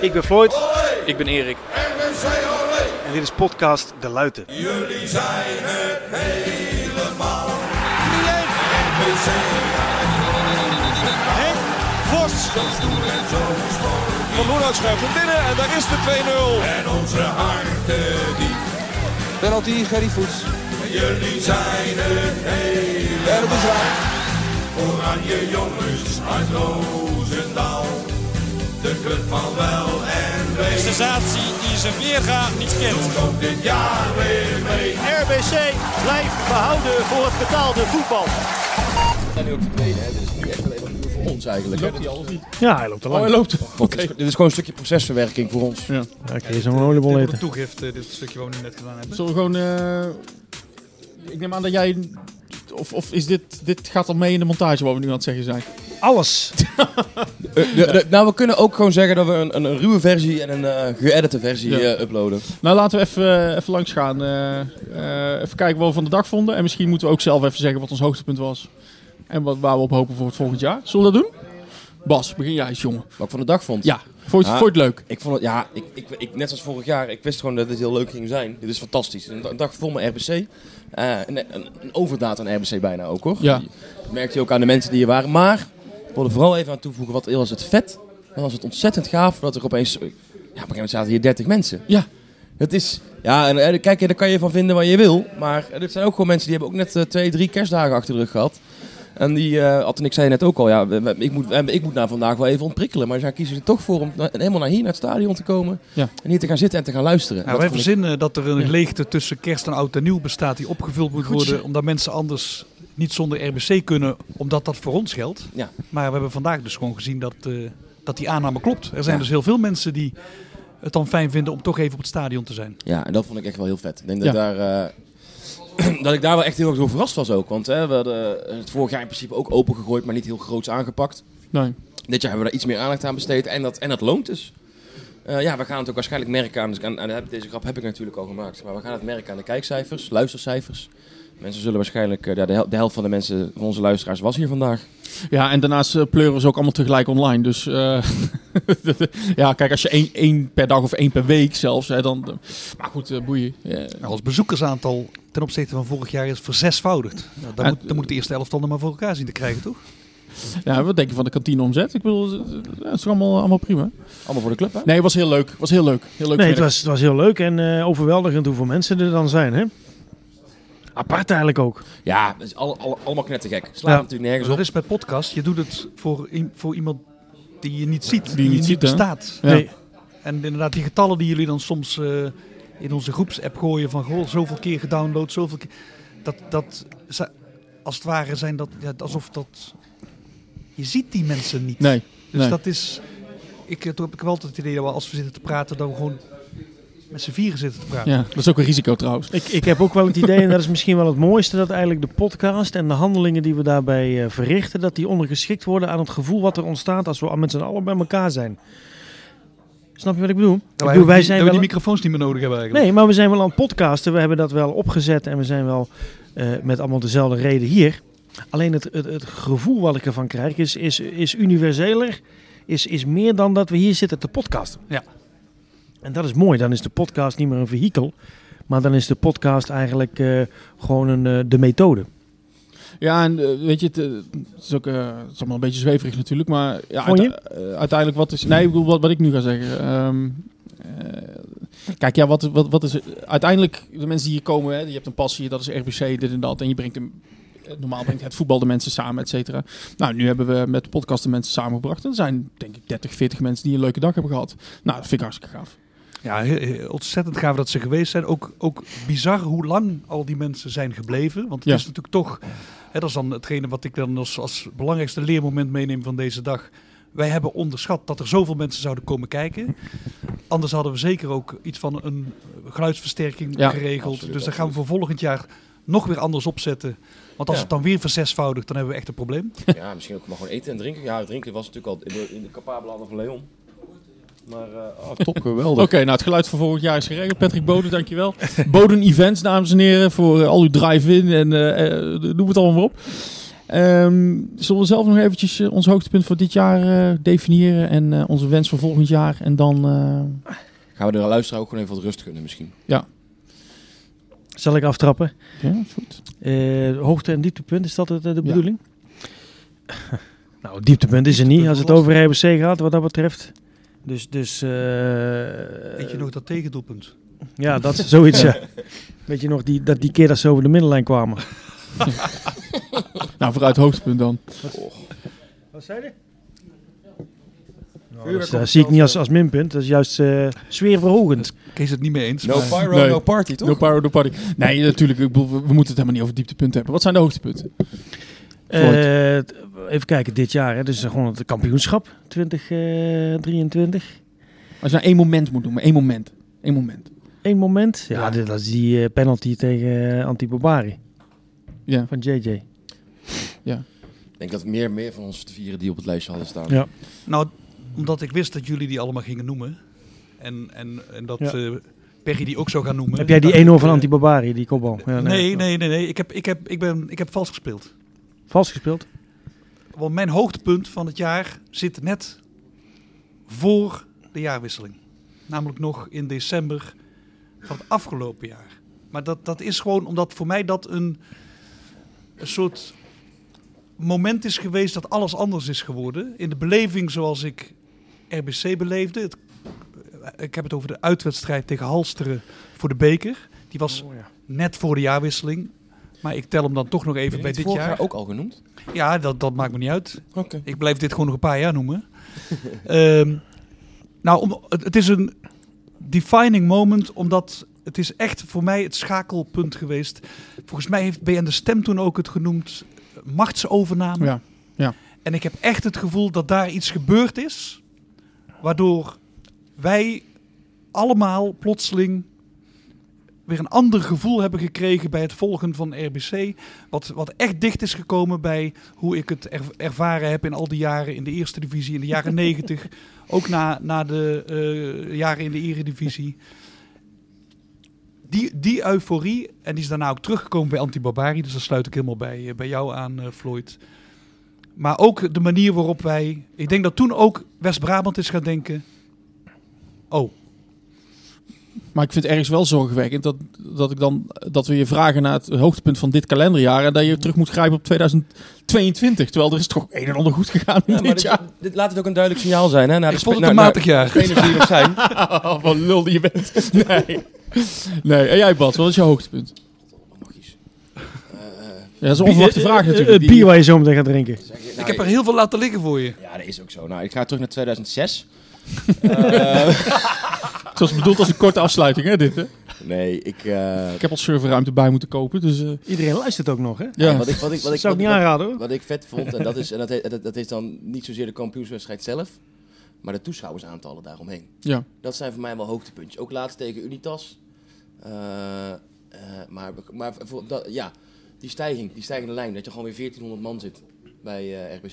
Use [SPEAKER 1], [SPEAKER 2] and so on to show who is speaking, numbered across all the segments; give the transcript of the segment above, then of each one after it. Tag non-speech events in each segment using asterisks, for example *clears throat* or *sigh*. [SPEAKER 1] Ik ben Floyd
[SPEAKER 2] Ik ben Erik.
[SPEAKER 1] en dit is podcast De Luiten.
[SPEAKER 3] Jullie zijn het helemaal.
[SPEAKER 4] Henk Vos. Van Loenhout schuift hem binnen en daar is de 2-0.
[SPEAKER 3] En onze harten die.
[SPEAKER 4] Penalty, Gerry Voets.
[SPEAKER 3] Jullie zijn het helemaal.
[SPEAKER 4] En het is raak.
[SPEAKER 3] Oranje jongens uit Roosendaal. De club van wel en wee.
[SPEAKER 4] Sensatie die ze weer gaat niet kent.
[SPEAKER 3] Doet ook dit jaar weer mee.
[SPEAKER 5] RBC blijft behouden voor het betaalde voetbal.
[SPEAKER 6] En nu ook de tweede, hè. Dit is nu echt wel even nieuw voor ons eigenlijk. Loopt hij al of niet?
[SPEAKER 7] Ja, hij loopt al
[SPEAKER 6] Oh,
[SPEAKER 7] lang.
[SPEAKER 6] hij loopt. Oké. Dit is gewoon een stukje procesverwerking voor ons.
[SPEAKER 7] Ja, kun je zo'n oliebol eten.
[SPEAKER 8] toegift, eh, dit stukje wat we nu net gedaan hebben.
[SPEAKER 6] Zullen we gewoon... eh, ik neem aan dat jij... Of, of is dit... Dit gaat al mee in de montage wat we nu aan het zeggen zijn.
[SPEAKER 7] Alles.
[SPEAKER 9] nou, we kunnen ook gewoon zeggen dat we een, een, ruwe versie en een eh geëdite versie
[SPEAKER 6] Ja.
[SPEAKER 9] eh, uploaden.
[SPEAKER 6] Nou, laten we even, eh, even langs gaan. eh, eh, even kijken wat we van de dag vonden. En misschien moeten we ook zelf even zeggen wat ons hoogtepunt was. En wat, waar we op hopen voor het volgend jaar. Zullen we dat doen? Bas, begin jij eens, jongen.
[SPEAKER 9] Wat ik van de dag vond.
[SPEAKER 6] Ja, vond je,
[SPEAKER 9] Ah.
[SPEAKER 6] vond je het leuk?
[SPEAKER 9] Ik vond het, ja, ik, ik, ik, net als vorig jaar, ik wist gewoon dat dit heel leuk ging zijn. Dit is fantastisch. Een, da- een dag vol met RBC. Eh, een, een, een overdaad aan RBC bijna ook, hoor.
[SPEAKER 6] Ja.
[SPEAKER 9] Dat merkte je ook aan de mensen die hier waren. Maar, ik wilde vooral even aan toevoegen, wat was het vet. Dan was het ontzettend gaaf dat er opeens... Ja, op een gegeven moment zaten hier 30 mensen.
[SPEAKER 6] Ja.
[SPEAKER 9] Het is... Ja, en eh, kijk, daar kan je van vinden wat je wil. Maar er zijn ook gewoon mensen die hebben ook net eh, twee, drie kerstdagen achter de rug gehad. En die, eh Ad en ik zei net ook al, ja, we- we- ik, moet, eh, ik moet naar vandaag wel even ontprikkelen. Maar zij kiezen er toch voor om na- helemaal naar hier, naar het stadion te komen.
[SPEAKER 6] Ja.
[SPEAKER 9] En hier te gaan zitten en te gaan luisteren.
[SPEAKER 8] Nou, wij
[SPEAKER 9] Dat vond ik-
[SPEAKER 8] verzinnen dat er een
[SPEAKER 6] Ja.
[SPEAKER 8] leegte tussen kerst en oud en nieuw bestaat die opgevuld moet
[SPEAKER 6] Goed zo.
[SPEAKER 8] worden. Omdat mensen anders niet zonder RBC kunnen, omdat dat voor ons geldt.
[SPEAKER 9] Ja.
[SPEAKER 8] Maar we hebben vandaag dus gewoon gezien dat, eh, dat die aanname klopt. Er zijn
[SPEAKER 9] Ja.
[SPEAKER 8] dus heel veel mensen die het dan fijn vinden om toch even op het stadion te zijn.
[SPEAKER 9] ja, en dat vond ik echt wel heel vet. Ik denk
[SPEAKER 6] Ja.
[SPEAKER 9] dat, daar, eh, *clears throat* dat ik daar wel echt heel erg door verrast was ook. Want hè, we hadden het vorig jaar in principe ook open gegooid, maar niet heel groots aangepakt.
[SPEAKER 6] Nee.
[SPEAKER 9] Dit jaar hebben we daar iets meer aandacht aan besteed en dat, en dat loont dus. Eh, ja, we gaan het ook waarschijnlijk merken aan, dus aan, aan- heb- deze grap heb ik natuurlijk al gemaakt, maar we gaan het merken aan de kijkcijfers, luistercijfers. Mensen zullen waarschijnlijk, eh, ja, de, hel- de helft van de mensen, van onze luisteraars, was hier vandaag.
[SPEAKER 6] Ja, en daarnaast eh, pleuren ze ook allemaal tegelijk online. Dus eh, *laughs* ja, kijk, als je één, één per dag of één per week zelfs, hè, dan... eh, maar goed, eh, boeien. Ja.
[SPEAKER 8] Nou, als bezoekersaantal ten opzichte van vorig jaar is verzesvoudigd. Nou, dan,
[SPEAKER 6] Ja,
[SPEAKER 8] moet, dan moet de eerste elftal er maar voor elkaar zien te krijgen, toch?
[SPEAKER 6] ja, wat denk je van de kantineomzet? Ik bedoel, eh, eh, het is toch allemaal, allemaal prima.
[SPEAKER 9] Allemaal voor de club, hè?
[SPEAKER 6] Nee, het was heel leuk. Het was heel leuk. Heel leuk
[SPEAKER 7] Nee, het
[SPEAKER 6] werk.
[SPEAKER 7] was, het was heel leuk en eh, overweldigend hoeveel mensen er dan zijn. Hè? Apart eigenlijk ook.
[SPEAKER 9] Ja, dat is al, al- allemaal knettergek. Slaat
[SPEAKER 7] Ja.
[SPEAKER 9] natuurlijk nergens
[SPEAKER 8] *laughs* Dat
[SPEAKER 9] op.
[SPEAKER 8] is met podcast. Je doet het voor, i- voor iemand die je niet ziet, die,
[SPEAKER 6] je
[SPEAKER 8] je
[SPEAKER 6] niet
[SPEAKER 8] niet
[SPEAKER 6] ziet, hè?
[SPEAKER 8] bestaat.
[SPEAKER 6] Ja.
[SPEAKER 7] Nee,
[SPEAKER 8] En inderdaad, die getallen die jullie dan soms eh, in onze groepsapp gooien van goh, zoveel keer gedownload, zoveel keer. Dat, dat za- als het ware zijn dat ja, alsof dat. Je ziet die mensen niet.
[SPEAKER 6] Nee,
[SPEAKER 8] dus
[SPEAKER 6] nee.
[SPEAKER 8] dat is. Ik, eh, toen heb ik wel altijd het idee dat we als we zitten te praten, dan gewoon met z'n vieren zitten te praten.
[SPEAKER 6] ja, dat is ook een risico trouwens.
[SPEAKER 7] ik, ik heb ook wel het idee, en dat is misschien wel het mooiste, dat eigenlijk de podcast en de handelingen die we daarbij eh, verrichten, dat die ondergeschikt worden aan het gevoel wat er ontstaat als we met z'n allen bij elkaar zijn. Snap je wat ik bedoel? Ik
[SPEAKER 8] Dat, wij,
[SPEAKER 7] bedoel,
[SPEAKER 8] ook die- dat we
[SPEAKER 7] wel-
[SPEAKER 8] die microfoons Nou, niet meer nodig hebben eigenlijk.
[SPEAKER 7] Nee, maar we zijn wel aan het podcasten. We hebben dat wel opgezet en we zijn wel eh, met allemaal dezelfde reden hier. Alleen het, het, het gevoel wat ik ervan krijg is, is, is universeler. Is, is meer dan dat we hier zitten te podcasten.
[SPEAKER 8] Ja.
[SPEAKER 7] En dat is mooi. Dan is de podcast niet meer een vehikel. Maar dan is de podcast eigenlijk eh, gewoon een, eh, de methode.
[SPEAKER 6] Ja, en eh, weet je, het, eh, het is ook eh, het is allemaal een beetje zweverig natuurlijk, maar ja,
[SPEAKER 7] Vond je?
[SPEAKER 6] uite- eh, uiteindelijk wat is... Nee, ik bedoel, wat, wat ik nu ga zeggen. ehm, eh, kijk, ja, wat, wat, wat is... het- Uiteindelijk, de mensen die hier komen, hè, je hebt een passie, dat is RBC, dit en dat, en je brengt hem... eh, Normaal brengt het voetbal de mensen samen, et cetera. Nou, nu hebben we met de podcast de mensen samengebracht. En er zijn, denk ik, 30, 40 mensen die een leuke dag hebben gehad. Nou, dat vind ik hartstikke gaaf.
[SPEAKER 8] Ja, he- he- ontzettend gaaf dat ze geweest zijn. Ook, ook bizar hoe lang al die mensen zijn gebleven. Want het
[SPEAKER 6] Ja.
[SPEAKER 8] is natuurlijk toch, hè, dat is dan hetgene wat ik dan als, als belangrijkste leermoment meeneem van deze dag. Wij hebben onderschat dat er zoveel mensen zouden komen kijken. Anders hadden we zeker ook iets van een geluidsversterking
[SPEAKER 6] Ja,
[SPEAKER 8] geregeld.
[SPEAKER 9] absoluut,
[SPEAKER 8] dus dat gaan we voor volgend jaar nog weer anders opzetten. Want als
[SPEAKER 9] Ja.
[SPEAKER 8] het dan weer verzesvoudigt, dan hebben we echt een probleem.
[SPEAKER 9] Ja, misschien ook maar gewoon eten en drinken. Ja, drinken was natuurlijk al in de, in de capabele handen van Leon. Maar eh, oh, top, geweldig.
[SPEAKER 6] Oké, nou het geluid van volgend jaar is geregeld. Patrick Boden, dankjewel. *laughs* Boden Events, dames en heren, voor eh, al uw drive-in en eh, eh, noem het allemaal maar op. Ehm, zullen we zelf nog eventjes eh, ons hoogtepunt voor dit jaar eh, definiëren en eh, onze wens voor volgend jaar en dan... eh,
[SPEAKER 9] Gaan we de luisteraar ook gewoon even wat rust gunnen misschien.
[SPEAKER 7] Zal ik aftrappen?
[SPEAKER 6] ja, is goed.
[SPEAKER 7] Eh, hoogte- en dieptepunt, is dat eh, de, de bedoeling? *laughs* nou, dieptepunt is er niet als het over RBC gaat, wat dat betreft. Dus, dus eh,
[SPEAKER 8] Weet
[SPEAKER 9] Eh,
[SPEAKER 8] je nog dat tegendoelpunt?
[SPEAKER 7] ja, dat is zoiets, ja. Weet je nog, die, dat die keer dat ze over de middenlijn kwamen?
[SPEAKER 6] Nou, vooruit hoogtepunt dan.
[SPEAKER 7] Wat zei je? dat eh, zie ik niet als, als minpunt, dat is juist eh sfeerverhogend.
[SPEAKER 8] Kees het niet mee eens.
[SPEAKER 9] No
[SPEAKER 8] maar-
[SPEAKER 9] pyro,
[SPEAKER 6] Nee.
[SPEAKER 9] no party, toch?
[SPEAKER 6] No power, no party. Nee, natuurlijk. Ik bedoel, we we moeten het helemaal niet over dieptepunten hebben. Wat zijn de hoogtepunten?
[SPEAKER 7] Eh, t- even kijken, dit jaar, hè, dus gewoon het kampioenschap eh, 2023.
[SPEAKER 6] Als je nou één moment moet noemen, één moment. Eén moment.
[SPEAKER 7] Eén moment. Ja,
[SPEAKER 6] Ja.
[SPEAKER 7] dit was die eh, penalty tegen eh Antibarbari
[SPEAKER 6] Ja.
[SPEAKER 7] van JJ.
[SPEAKER 9] Ik denk dat meer meer van ons te vieren die op het lijstje hadden staan.
[SPEAKER 7] Ja.
[SPEAKER 8] Nou, omdat ik wist dat jullie die allemaal gingen noemen. En, en, en dat
[SPEAKER 7] Ja.
[SPEAKER 8] eh Perry die ook zou gaan noemen.
[SPEAKER 7] Heb jij
[SPEAKER 8] dacht
[SPEAKER 7] die 1-0
[SPEAKER 8] ik,
[SPEAKER 7] van
[SPEAKER 8] eh,
[SPEAKER 7] Antibarbari, die kopbal?
[SPEAKER 6] eh,
[SPEAKER 7] Ja,
[SPEAKER 8] Nee, nee, nee. nee. Ik, heb, ik, heb, ik, ben, ik heb vals gespeeld.
[SPEAKER 7] Vals gespeeld.
[SPEAKER 8] Want mijn hoogtepunt van het jaar zit net voor de jaarwisseling. Namelijk nog in december van het afgelopen jaar. Maar dat, dat is gewoon omdat voor mij dat een, een soort moment is geweest dat alles anders is geworden. In de beleving zoals ik RBC beleefde. Het- ik heb het over de uitwedstrijd tegen Halsteren voor de beker. Die was net voor de jaarwisseling. Maar ik tel hem dan toch nog even bij dit jaar.
[SPEAKER 9] ook al genoemd.
[SPEAKER 8] Ja, dat, dat maakt me niet uit.
[SPEAKER 9] Oké.
[SPEAKER 8] Ik blijf dit gewoon nog een paar jaar noemen. *laughs* Ehm, nou, om, het, het is een defining moment, omdat het is echt voor mij het schakelpunt geweest. Volgens mij heeft BN de Stem toen ook het genoemd eh, machtsovername.
[SPEAKER 6] Ja.
[SPEAKER 8] En ik heb echt het gevoel dat daar iets gebeurd is, waardoor wij allemaal plotseling weer een ander gevoel hebben gekregen bij het volgen van RBC. Wat, wat echt dicht is gekomen bij hoe ik het er- ervaren heb in al die jaren in de eerste divisie, in de jaren negentig. Ook na, na de eh, jaren in de eredivisie. Die, die euforie, en die is daarna ook teruggekomen bij Antibarbari. Dus daar sluit ik helemaal bij, eh, bij jou aan, eh, Floyd. Maar ook de manier waarop wij... Ik denk dat toen ook West-Brabant is gaan denken... Oh,
[SPEAKER 6] Maar ik vind het ergens wel zorgwekkend dat, dat, ik dan, dat we je vragen naar het hoogtepunt van dit kalenderjaar. En dat je terug moet grijpen op 2022. Terwijl er is toch een en ander goed gegaan in
[SPEAKER 9] Ja, maar
[SPEAKER 6] dit
[SPEAKER 9] *laughs* dit,
[SPEAKER 6] jaar. *laughs*
[SPEAKER 9] dit laat het ook een duidelijk signaal zijn. Hè, naar
[SPEAKER 8] ik
[SPEAKER 9] de
[SPEAKER 8] vond
[SPEAKER 9] spe-
[SPEAKER 8] het een
[SPEAKER 9] naar-
[SPEAKER 8] matig jaar.
[SPEAKER 9] naar de spelers *laughs* die er zijn.
[SPEAKER 6] Oh, wat lul die je bent. Nee. Nee, en jij Bas, wat is je hoogtepunt? Eh, Ja, dat is een onverwachte
[SPEAKER 7] Bier-
[SPEAKER 6] vraag
[SPEAKER 7] eh, eh,
[SPEAKER 6] natuurlijk.
[SPEAKER 7] Het
[SPEAKER 6] die-
[SPEAKER 7] bier waar je zo meteen gaat drinken.
[SPEAKER 8] *laughs* Ik heb er heel veel laten liggen voor je.
[SPEAKER 9] Ja, dat is ook zo. Nou, ik ga terug naar 2006.
[SPEAKER 6] Zoals bedoeld als een korte afsluiting, hè, dit, hè?
[SPEAKER 9] Nee, ik... eh,
[SPEAKER 6] Ik heb al serverruimte bij moeten kopen, dus... eh,
[SPEAKER 7] Iedereen luistert ook nog, hè?
[SPEAKER 6] ja.
[SPEAKER 9] Wat ik, wat ik, wat
[SPEAKER 7] Dat
[SPEAKER 9] ik,
[SPEAKER 7] zou ik niet
[SPEAKER 9] wat-
[SPEAKER 7] aanraden, hoor.
[SPEAKER 9] Wat ik vet vond, en dat is, en dat, he- dat, dat is dan niet zozeer de kampioenswedstrijd zelf, maar de toeschouwersaantallen daaromheen.
[SPEAKER 6] Ja.
[SPEAKER 9] Dat zijn voor mij wel hoogtepuntjes. Ook laatst tegen Unitas. Eh, eh, maar maar voor dat, ja, die stijging, die stijgende lijn, dat je gewoon weer 1400 man zit bij eh, RBC.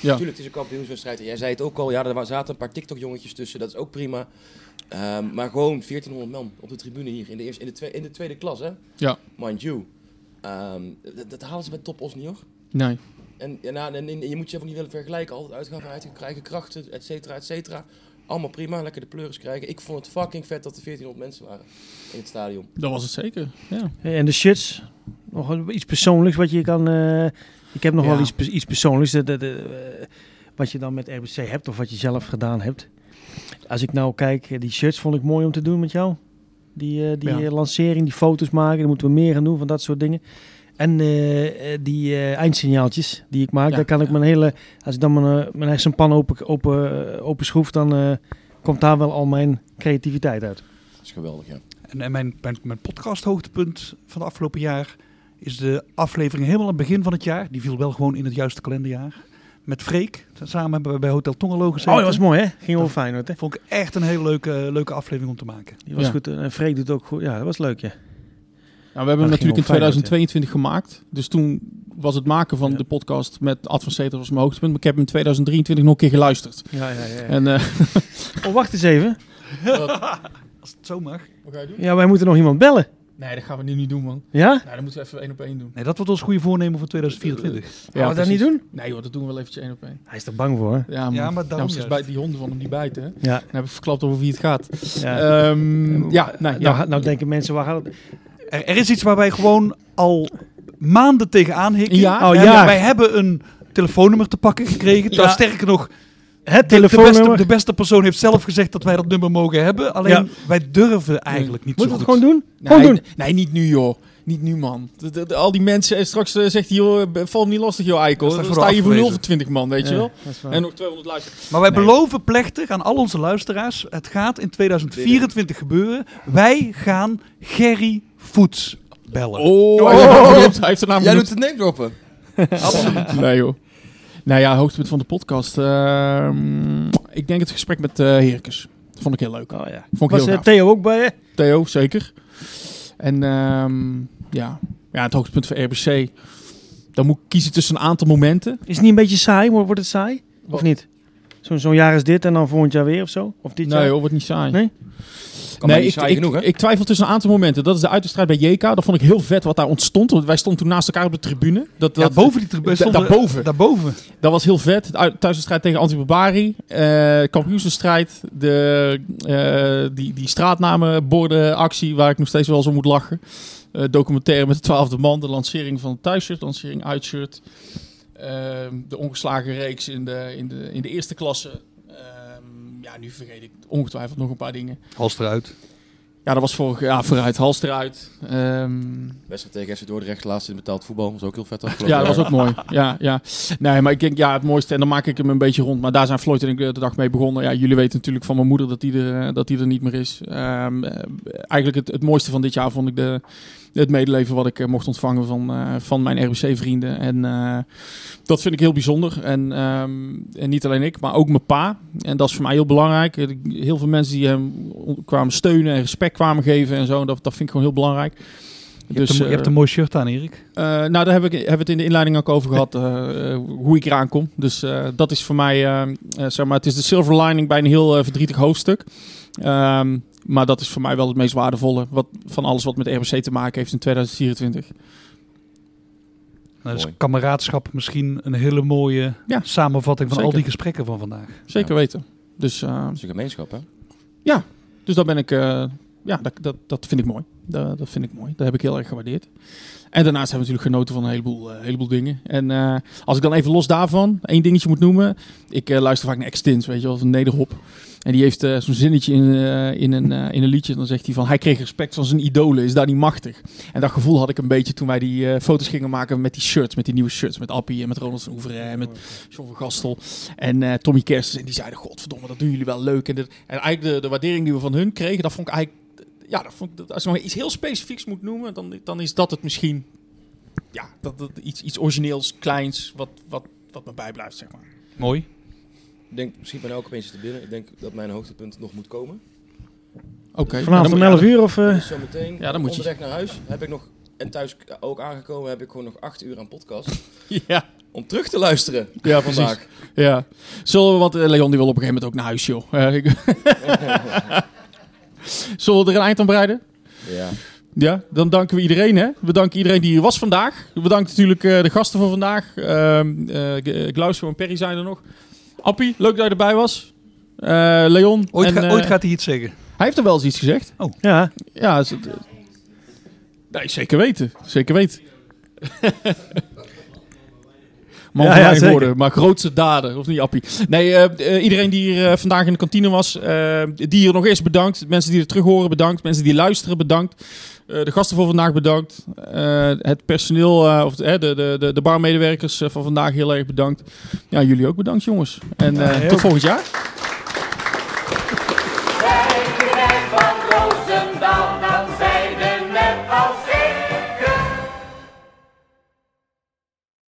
[SPEAKER 6] Ja.
[SPEAKER 9] Tuurlijk, het is een kampioenswedstrijd. En jij zei het ook al, ja, er wa- zaten een paar TikTok-jongetjes tussen, dat is ook prima. Ehm, maar gewoon 1400 man op de tribune hier in de, eerste, in de, tweede, in de tweede klas, hè?
[SPEAKER 6] Ja.
[SPEAKER 9] Mind you. Ehm, dat, dat halen ze bij Top Os niet, hoor.
[SPEAKER 6] Nee.
[SPEAKER 9] En, en, nou, en, en je moet je ook niet willen vergelijken. Altijd uitgaan vanuit je eigen krachten, et cetera, et cetera. Allemaal prima, lekker de pleuris krijgen. Ik vond het fucking vet dat er 1400 mensen waren in het stadion.
[SPEAKER 6] Dat was het zeker, ja.
[SPEAKER 7] Eh, En de shits. Nog een- iets persoonlijks wat je kan... eh, ik heb nog
[SPEAKER 6] Ja.
[SPEAKER 7] wel iets, pers- iets persoonlijks. De, de, de, eh, wat je dan met RBC hebt of wat je zelf gedaan hebt. Als ik nou kijk, eh, die shirts vond ik mooi om te doen met jou. Die, eh, die
[SPEAKER 6] Ja.
[SPEAKER 7] eh, lancering, die foto's maken. Daar moeten we meer aan doen van dat soort dingen. En eh, eh, die eh, eindsignaaltjes die ik maak.
[SPEAKER 6] Ja,
[SPEAKER 7] daar kan ik
[SPEAKER 6] ja.
[SPEAKER 7] mijn hele... Als ik dan mijn, eh, mijn hersenpan open, open, eh, open schroef, dan eh, komt daar wel al mijn creativiteit uit.
[SPEAKER 9] Dat is geweldig, ja.
[SPEAKER 8] En, en mijn, mijn, mijn podcast hoogtepunt van het afgelopen jaar is de aflevering helemaal aan het begin van het jaar. Die viel wel gewoon in het juiste kalenderjaar. Met Freek. Samen hebben we bij Hotel Tongelo gezeten.
[SPEAKER 7] Oh, dat was mooi hè? Ging over Feyenoord hè?
[SPEAKER 8] Vond ik echt een hele leuke, leuke aflevering om te maken.
[SPEAKER 7] Die was
[SPEAKER 6] Ja.
[SPEAKER 7] goed. En Freek doet ook goed. Ja, dat was leuk, ja.
[SPEAKER 6] Nou, we hebben hem
[SPEAKER 7] Dat ging
[SPEAKER 6] natuurlijk in
[SPEAKER 7] wel fijn,
[SPEAKER 6] 2022 gemaakt. Dus toen was het maken van
[SPEAKER 7] Ja.
[SPEAKER 6] de podcast met Advanceter was mijn hoogtepunt. Maar ik heb hem in 2023 nog een keer geluisterd.
[SPEAKER 7] ja, ja, ja.
[SPEAKER 6] En eh,
[SPEAKER 7] Oh, wacht eens even.
[SPEAKER 8] Als het zo mag.
[SPEAKER 7] Ja, wij moeten nog iemand bellen.
[SPEAKER 6] Nee, dat gaan we nu niet doen, man.
[SPEAKER 7] Ja?
[SPEAKER 6] Nou, dat moeten we even één op één doen.
[SPEAKER 8] Nee, dat wordt ons goede voornemen voor 2024.
[SPEAKER 7] Gaan we dat niet doen?
[SPEAKER 6] Nee, joh, dat doen we wel eventjes één op één.
[SPEAKER 7] Hij is er bang voor.
[SPEAKER 6] Ja, man.
[SPEAKER 8] maar daarom
[SPEAKER 6] Daarom is
[SPEAKER 8] juist.
[SPEAKER 6] bij die honden van hem die bijten. Hè? Dan
[SPEAKER 7] Ja.
[SPEAKER 6] heb ik verklapt over wie het gaat.
[SPEAKER 7] ja.
[SPEAKER 6] Ehm, ja, nee, Dus, ja.
[SPEAKER 7] Nou, nou denken mensen, waar gaat het?
[SPEAKER 8] Er, er is iets waar wij gewoon al maanden tegenaan hikken.
[SPEAKER 6] Ja.
[SPEAKER 7] Oh,
[SPEAKER 8] En
[SPEAKER 7] ja.
[SPEAKER 8] Wij hebben een telefoonnummer te pakken gekregen. Nou,
[SPEAKER 6] Ja.
[SPEAKER 8] sterker nog,
[SPEAKER 7] Het
[SPEAKER 8] de, de, beste,
[SPEAKER 7] telefoonnummer.
[SPEAKER 8] de beste persoon heeft zelf gezegd dat wij dat nummer mogen hebben. Alleen wij durven eigenlijk niet
[SPEAKER 7] Moeten
[SPEAKER 8] zo
[SPEAKER 7] we het
[SPEAKER 8] goed.
[SPEAKER 7] gewoon doen?
[SPEAKER 6] Nee,
[SPEAKER 7] Gewoon doen.
[SPEAKER 6] n- nee, niet nu, joh. Niet nu, man. De- de- de- al die mensen. en Straks eh, zegt hij, joh, eh, val hem niet lastig, joh, eikel.
[SPEAKER 8] Dan
[SPEAKER 6] Dan,
[SPEAKER 8] sta ik
[SPEAKER 6] sta je voor
[SPEAKER 8] afgewezen.
[SPEAKER 6] 0 voor 20 man, weet je wel.
[SPEAKER 7] Dat is waar.
[SPEAKER 6] En nog 200 luisteren.
[SPEAKER 8] Maar wij
[SPEAKER 6] Nee.
[SPEAKER 8] beloven plechtig aan al onze luisteraars: het gaat in 2024 gebeuren. Wij gaan Gerry Voets bellen.
[SPEAKER 6] Oh, hij heeft de naam genoemd. Hij heeft de naam
[SPEAKER 9] Jij
[SPEAKER 6] genoemd.
[SPEAKER 9] doet het name droppen.
[SPEAKER 6] *laughs* Nee, joh. Nou ja, hoogtepunt van de podcast. Ehm, ik denk het gesprek met eh Herkus. Dat vond ik heel leuk.
[SPEAKER 7] Oh, ja.
[SPEAKER 6] Vond ik
[SPEAKER 7] Was
[SPEAKER 6] heel
[SPEAKER 7] eh,
[SPEAKER 6] gaaf.
[SPEAKER 7] Theo ook bij je?
[SPEAKER 6] Theo, zeker. En ehm, ja. ja, het hoogtepunt van RBC. Dan moet ik kiezen tussen een aantal momenten.
[SPEAKER 7] Is het niet een beetje saai? Wordt wordt het saai? Of
[SPEAKER 6] Wat?
[SPEAKER 7] niet? Zo'n zo'n jaar is dit en dan volgend jaar weer of zo? Of dit jaar?
[SPEAKER 6] Nee, joh, wordt niet saai.
[SPEAKER 7] Nee?
[SPEAKER 9] Kan nee,
[SPEAKER 6] ik,
[SPEAKER 9] niet saai
[SPEAKER 6] ik,
[SPEAKER 9] genoeg, hè?
[SPEAKER 6] ik twijfel tussen een aantal momenten. Dat is de uiterstrijd bij JK. Dat vond ik heel vet wat daar ontstond. Want wij stonden toen naast elkaar op de tribune. Dat,
[SPEAKER 8] Ja,
[SPEAKER 6] dat,
[SPEAKER 8] boven die tribune.
[SPEAKER 6] da-
[SPEAKER 8] stonden-
[SPEAKER 6] daarboven.
[SPEAKER 8] Daarboven.
[SPEAKER 6] dat was heel vet. De uit- thuiswedstrijd tegen Antibarbari. eh kampioensstrijd. De, eh, die, die straatnamenborden actie waar ik nog steeds wel eens om moet lachen. Eh, documentaire met de twaalfde man. De lancering van het thuisshirt. Lancering uitshirt. Ehm, de ongeslagen reeks in de, in de, in de eerste klasse. Ehm, ja, nu vergeet ik ongetwijfeld nog een paar dingen.
[SPEAKER 8] Hals eruit.
[SPEAKER 6] Ja, dat was vorig jaar vooruit, hals eruit. Ehm,
[SPEAKER 9] Wedstrijd tegen FC Dordrecht, laatst in betaald voetbal. was ook heel vet afgelopen.
[SPEAKER 6] ja, dat was ook mooi. Ja, ja. Nee, maar ik denk, ja, het mooiste, en dan maak ik hem een beetje rond. Maar daar zijn Floyd en ik eh, de dag mee begonnen. Ja, jullie weten natuurlijk van mijn moeder dat die er, eh, dat die er niet meer is. Ehm, eh, eigenlijk het, het mooiste van dit jaar vond ik de, het medeleven wat ik eh, mocht ontvangen van, eh, van mijn RBC-vrienden. En eh, dat vind ik heel bijzonder. En, ehm, en niet alleen ik, maar ook mijn pa. En dat is voor mij heel belangrijk. Eh, Heel veel mensen die hem on- kwamen steunen en respect kwamen geven en zo. En dat, dat vind ik gewoon heel belangrijk.
[SPEAKER 8] Je, hebt een, je
[SPEAKER 6] eh,
[SPEAKER 8] hebt een mooi shirt aan, Erik.
[SPEAKER 6] eh, nou, daar heb ik, hebben we het in de inleiding ook over gehad, eh, eh, hoe ik eraan kom. Dus eh, dat is voor mij, eh, eh, zeg maar, het is de silver lining bij een heel eh, verdrietig hoofdstuk. Ehm, maar dat is voor mij wel het meest waardevolle wat, van alles wat met RBC te maken heeft in 2024.
[SPEAKER 8] Nou, dus
[SPEAKER 9] Mooi.
[SPEAKER 8] kameraadschap misschien een hele mooie
[SPEAKER 6] Ja.
[SPEAKER 8] samenvatting van
[SPEAKER 6] Zeker.
[SPEAKER 8] al die gesprekken van vandaag.
[SPEAKER 6] Zeker weten. Dus, eh,
[SPEAKER 9] Dat is een gemeenschap, hè?
[SPEAKER 6] dus dat ben ik, eh, ja, dat, dat, dat vind ik mooi. Dat, dat vind ik mooi. Dat heb ik heel erg gewaardeerd. En daarnaast hebben we natuurlijk genoten van een heleboel, eh, heleboel dingen. En eh, als ik dan even los daarvan één dingetje moet noemen. Ik eh, luister vaak naar Extins, weet je wel, van Nederhop. En die heeft eh, zo'n zinnetje in, eh, in, een, eh, in een liedje. Dan zegt hij van, hij kreeg respect van zijn idolen. Is daar niet machtig? En dat gevoel had ik een beetje toen wij die eh, foto's gingen maken met die shirts. Met die nieuwe shirts. Met Appie en met Ronald van Oeveren en met John van Gastel. En eh, Tommy Kerstens. En die zeiden, godverdomme, dat doen jullie wel leuk. En, dit- en eigenlijk de, de waardering die we van hun kregen, dat vond ik eigenlijk... Ja, dat vond ik, dat- als ik nog iets heel specifieks moet noemen, dan, dan is dat het misschien. Ja, dat, dat, iets, iets origineels, kleins, wat, wat, wat me bijblijft, zeg maar.
[SPEAKER 8] Mooi.
[SPEAKER 9] Ik denk, misschien ben ik ook opeens te binnen. Ik denk dat mijn hoogtepunt nog moet komen.
[SPEAKER 6] Eh, Oké.
[SPEAKER 7] Vanavond om 11 uur of... eh,
[SPEAKER 9] Dus zometeen,
[SPEAKER 6] Ja, dan moet je-
[SPEAKER 9] onderweg naar huis, heb ik nog... En thuis ook aangekomen heb ik gewoon nog acht uur aan podcast.
[SPEAKER 6] *laughs* Ja,
[SPEAKER 9] om terug te luisteren
[SPEAKER 6] ja,
[SPEAKER 9] vandaag.
[SPEAKER 6] precies. Ja. Zullen we, want eh, Leon die wil op een gegeven moment ook naar huis, *laughs* joh. Eh, ik- Zullen we er een eind aan breiden?
[SPEAKER 9] Ja.
[SPEAKER 6] Ja, dan danken we iedereen. Hè? We danken iedereen die hier was vandaag. We danken natuurlijk eh, de gasten van vandaag. Ehm eh Glaucio en Perry zijn er nog. Appie, leuk dat je erbij was. Eh, Leon.
[SPEAKER 8] Ooit,
[SPEAKER 6] en,
[SPEAKER 8] ga-
[SPEAKER 6] eh,
[SPEAKER 8] ooit gaat hij iets zeggen.
[SPEAKER 6] Hij heeft er wel eens iets gezegd.
[SPEAKER 7] ja,
[SPEAKER 6] Ja, is het- nee, zeker weten. Zeker
[SPEAKER 7] *laughs*
[SPEAKER 6] weten. Man
[SPEAKER 7] Ja,
[SPEAKER 6] van
[SPEAKER 7] ja,
[SPEAKER 6] weinig
[SPEAKER 7] zeker.
[SPEAKER 6] woorden, maar grootste daden. Of niet, Appie? Nee, eh, eh, iedereen die hier eh, vandaag in de kantine was, eh, die hier nog eens bedankt. Mensen die er terug horen, bedankt. Mensen die luisteren, bedankt. Eh, de gasten voor vandaag, bedankt. Eh, het personeel, eh, of eh, de, de, de, de barmedewerkers eh, van vandaag, heel erg bedankt. Ja, jullie ook bedankt, jongens. En eh, tot volgend jaar.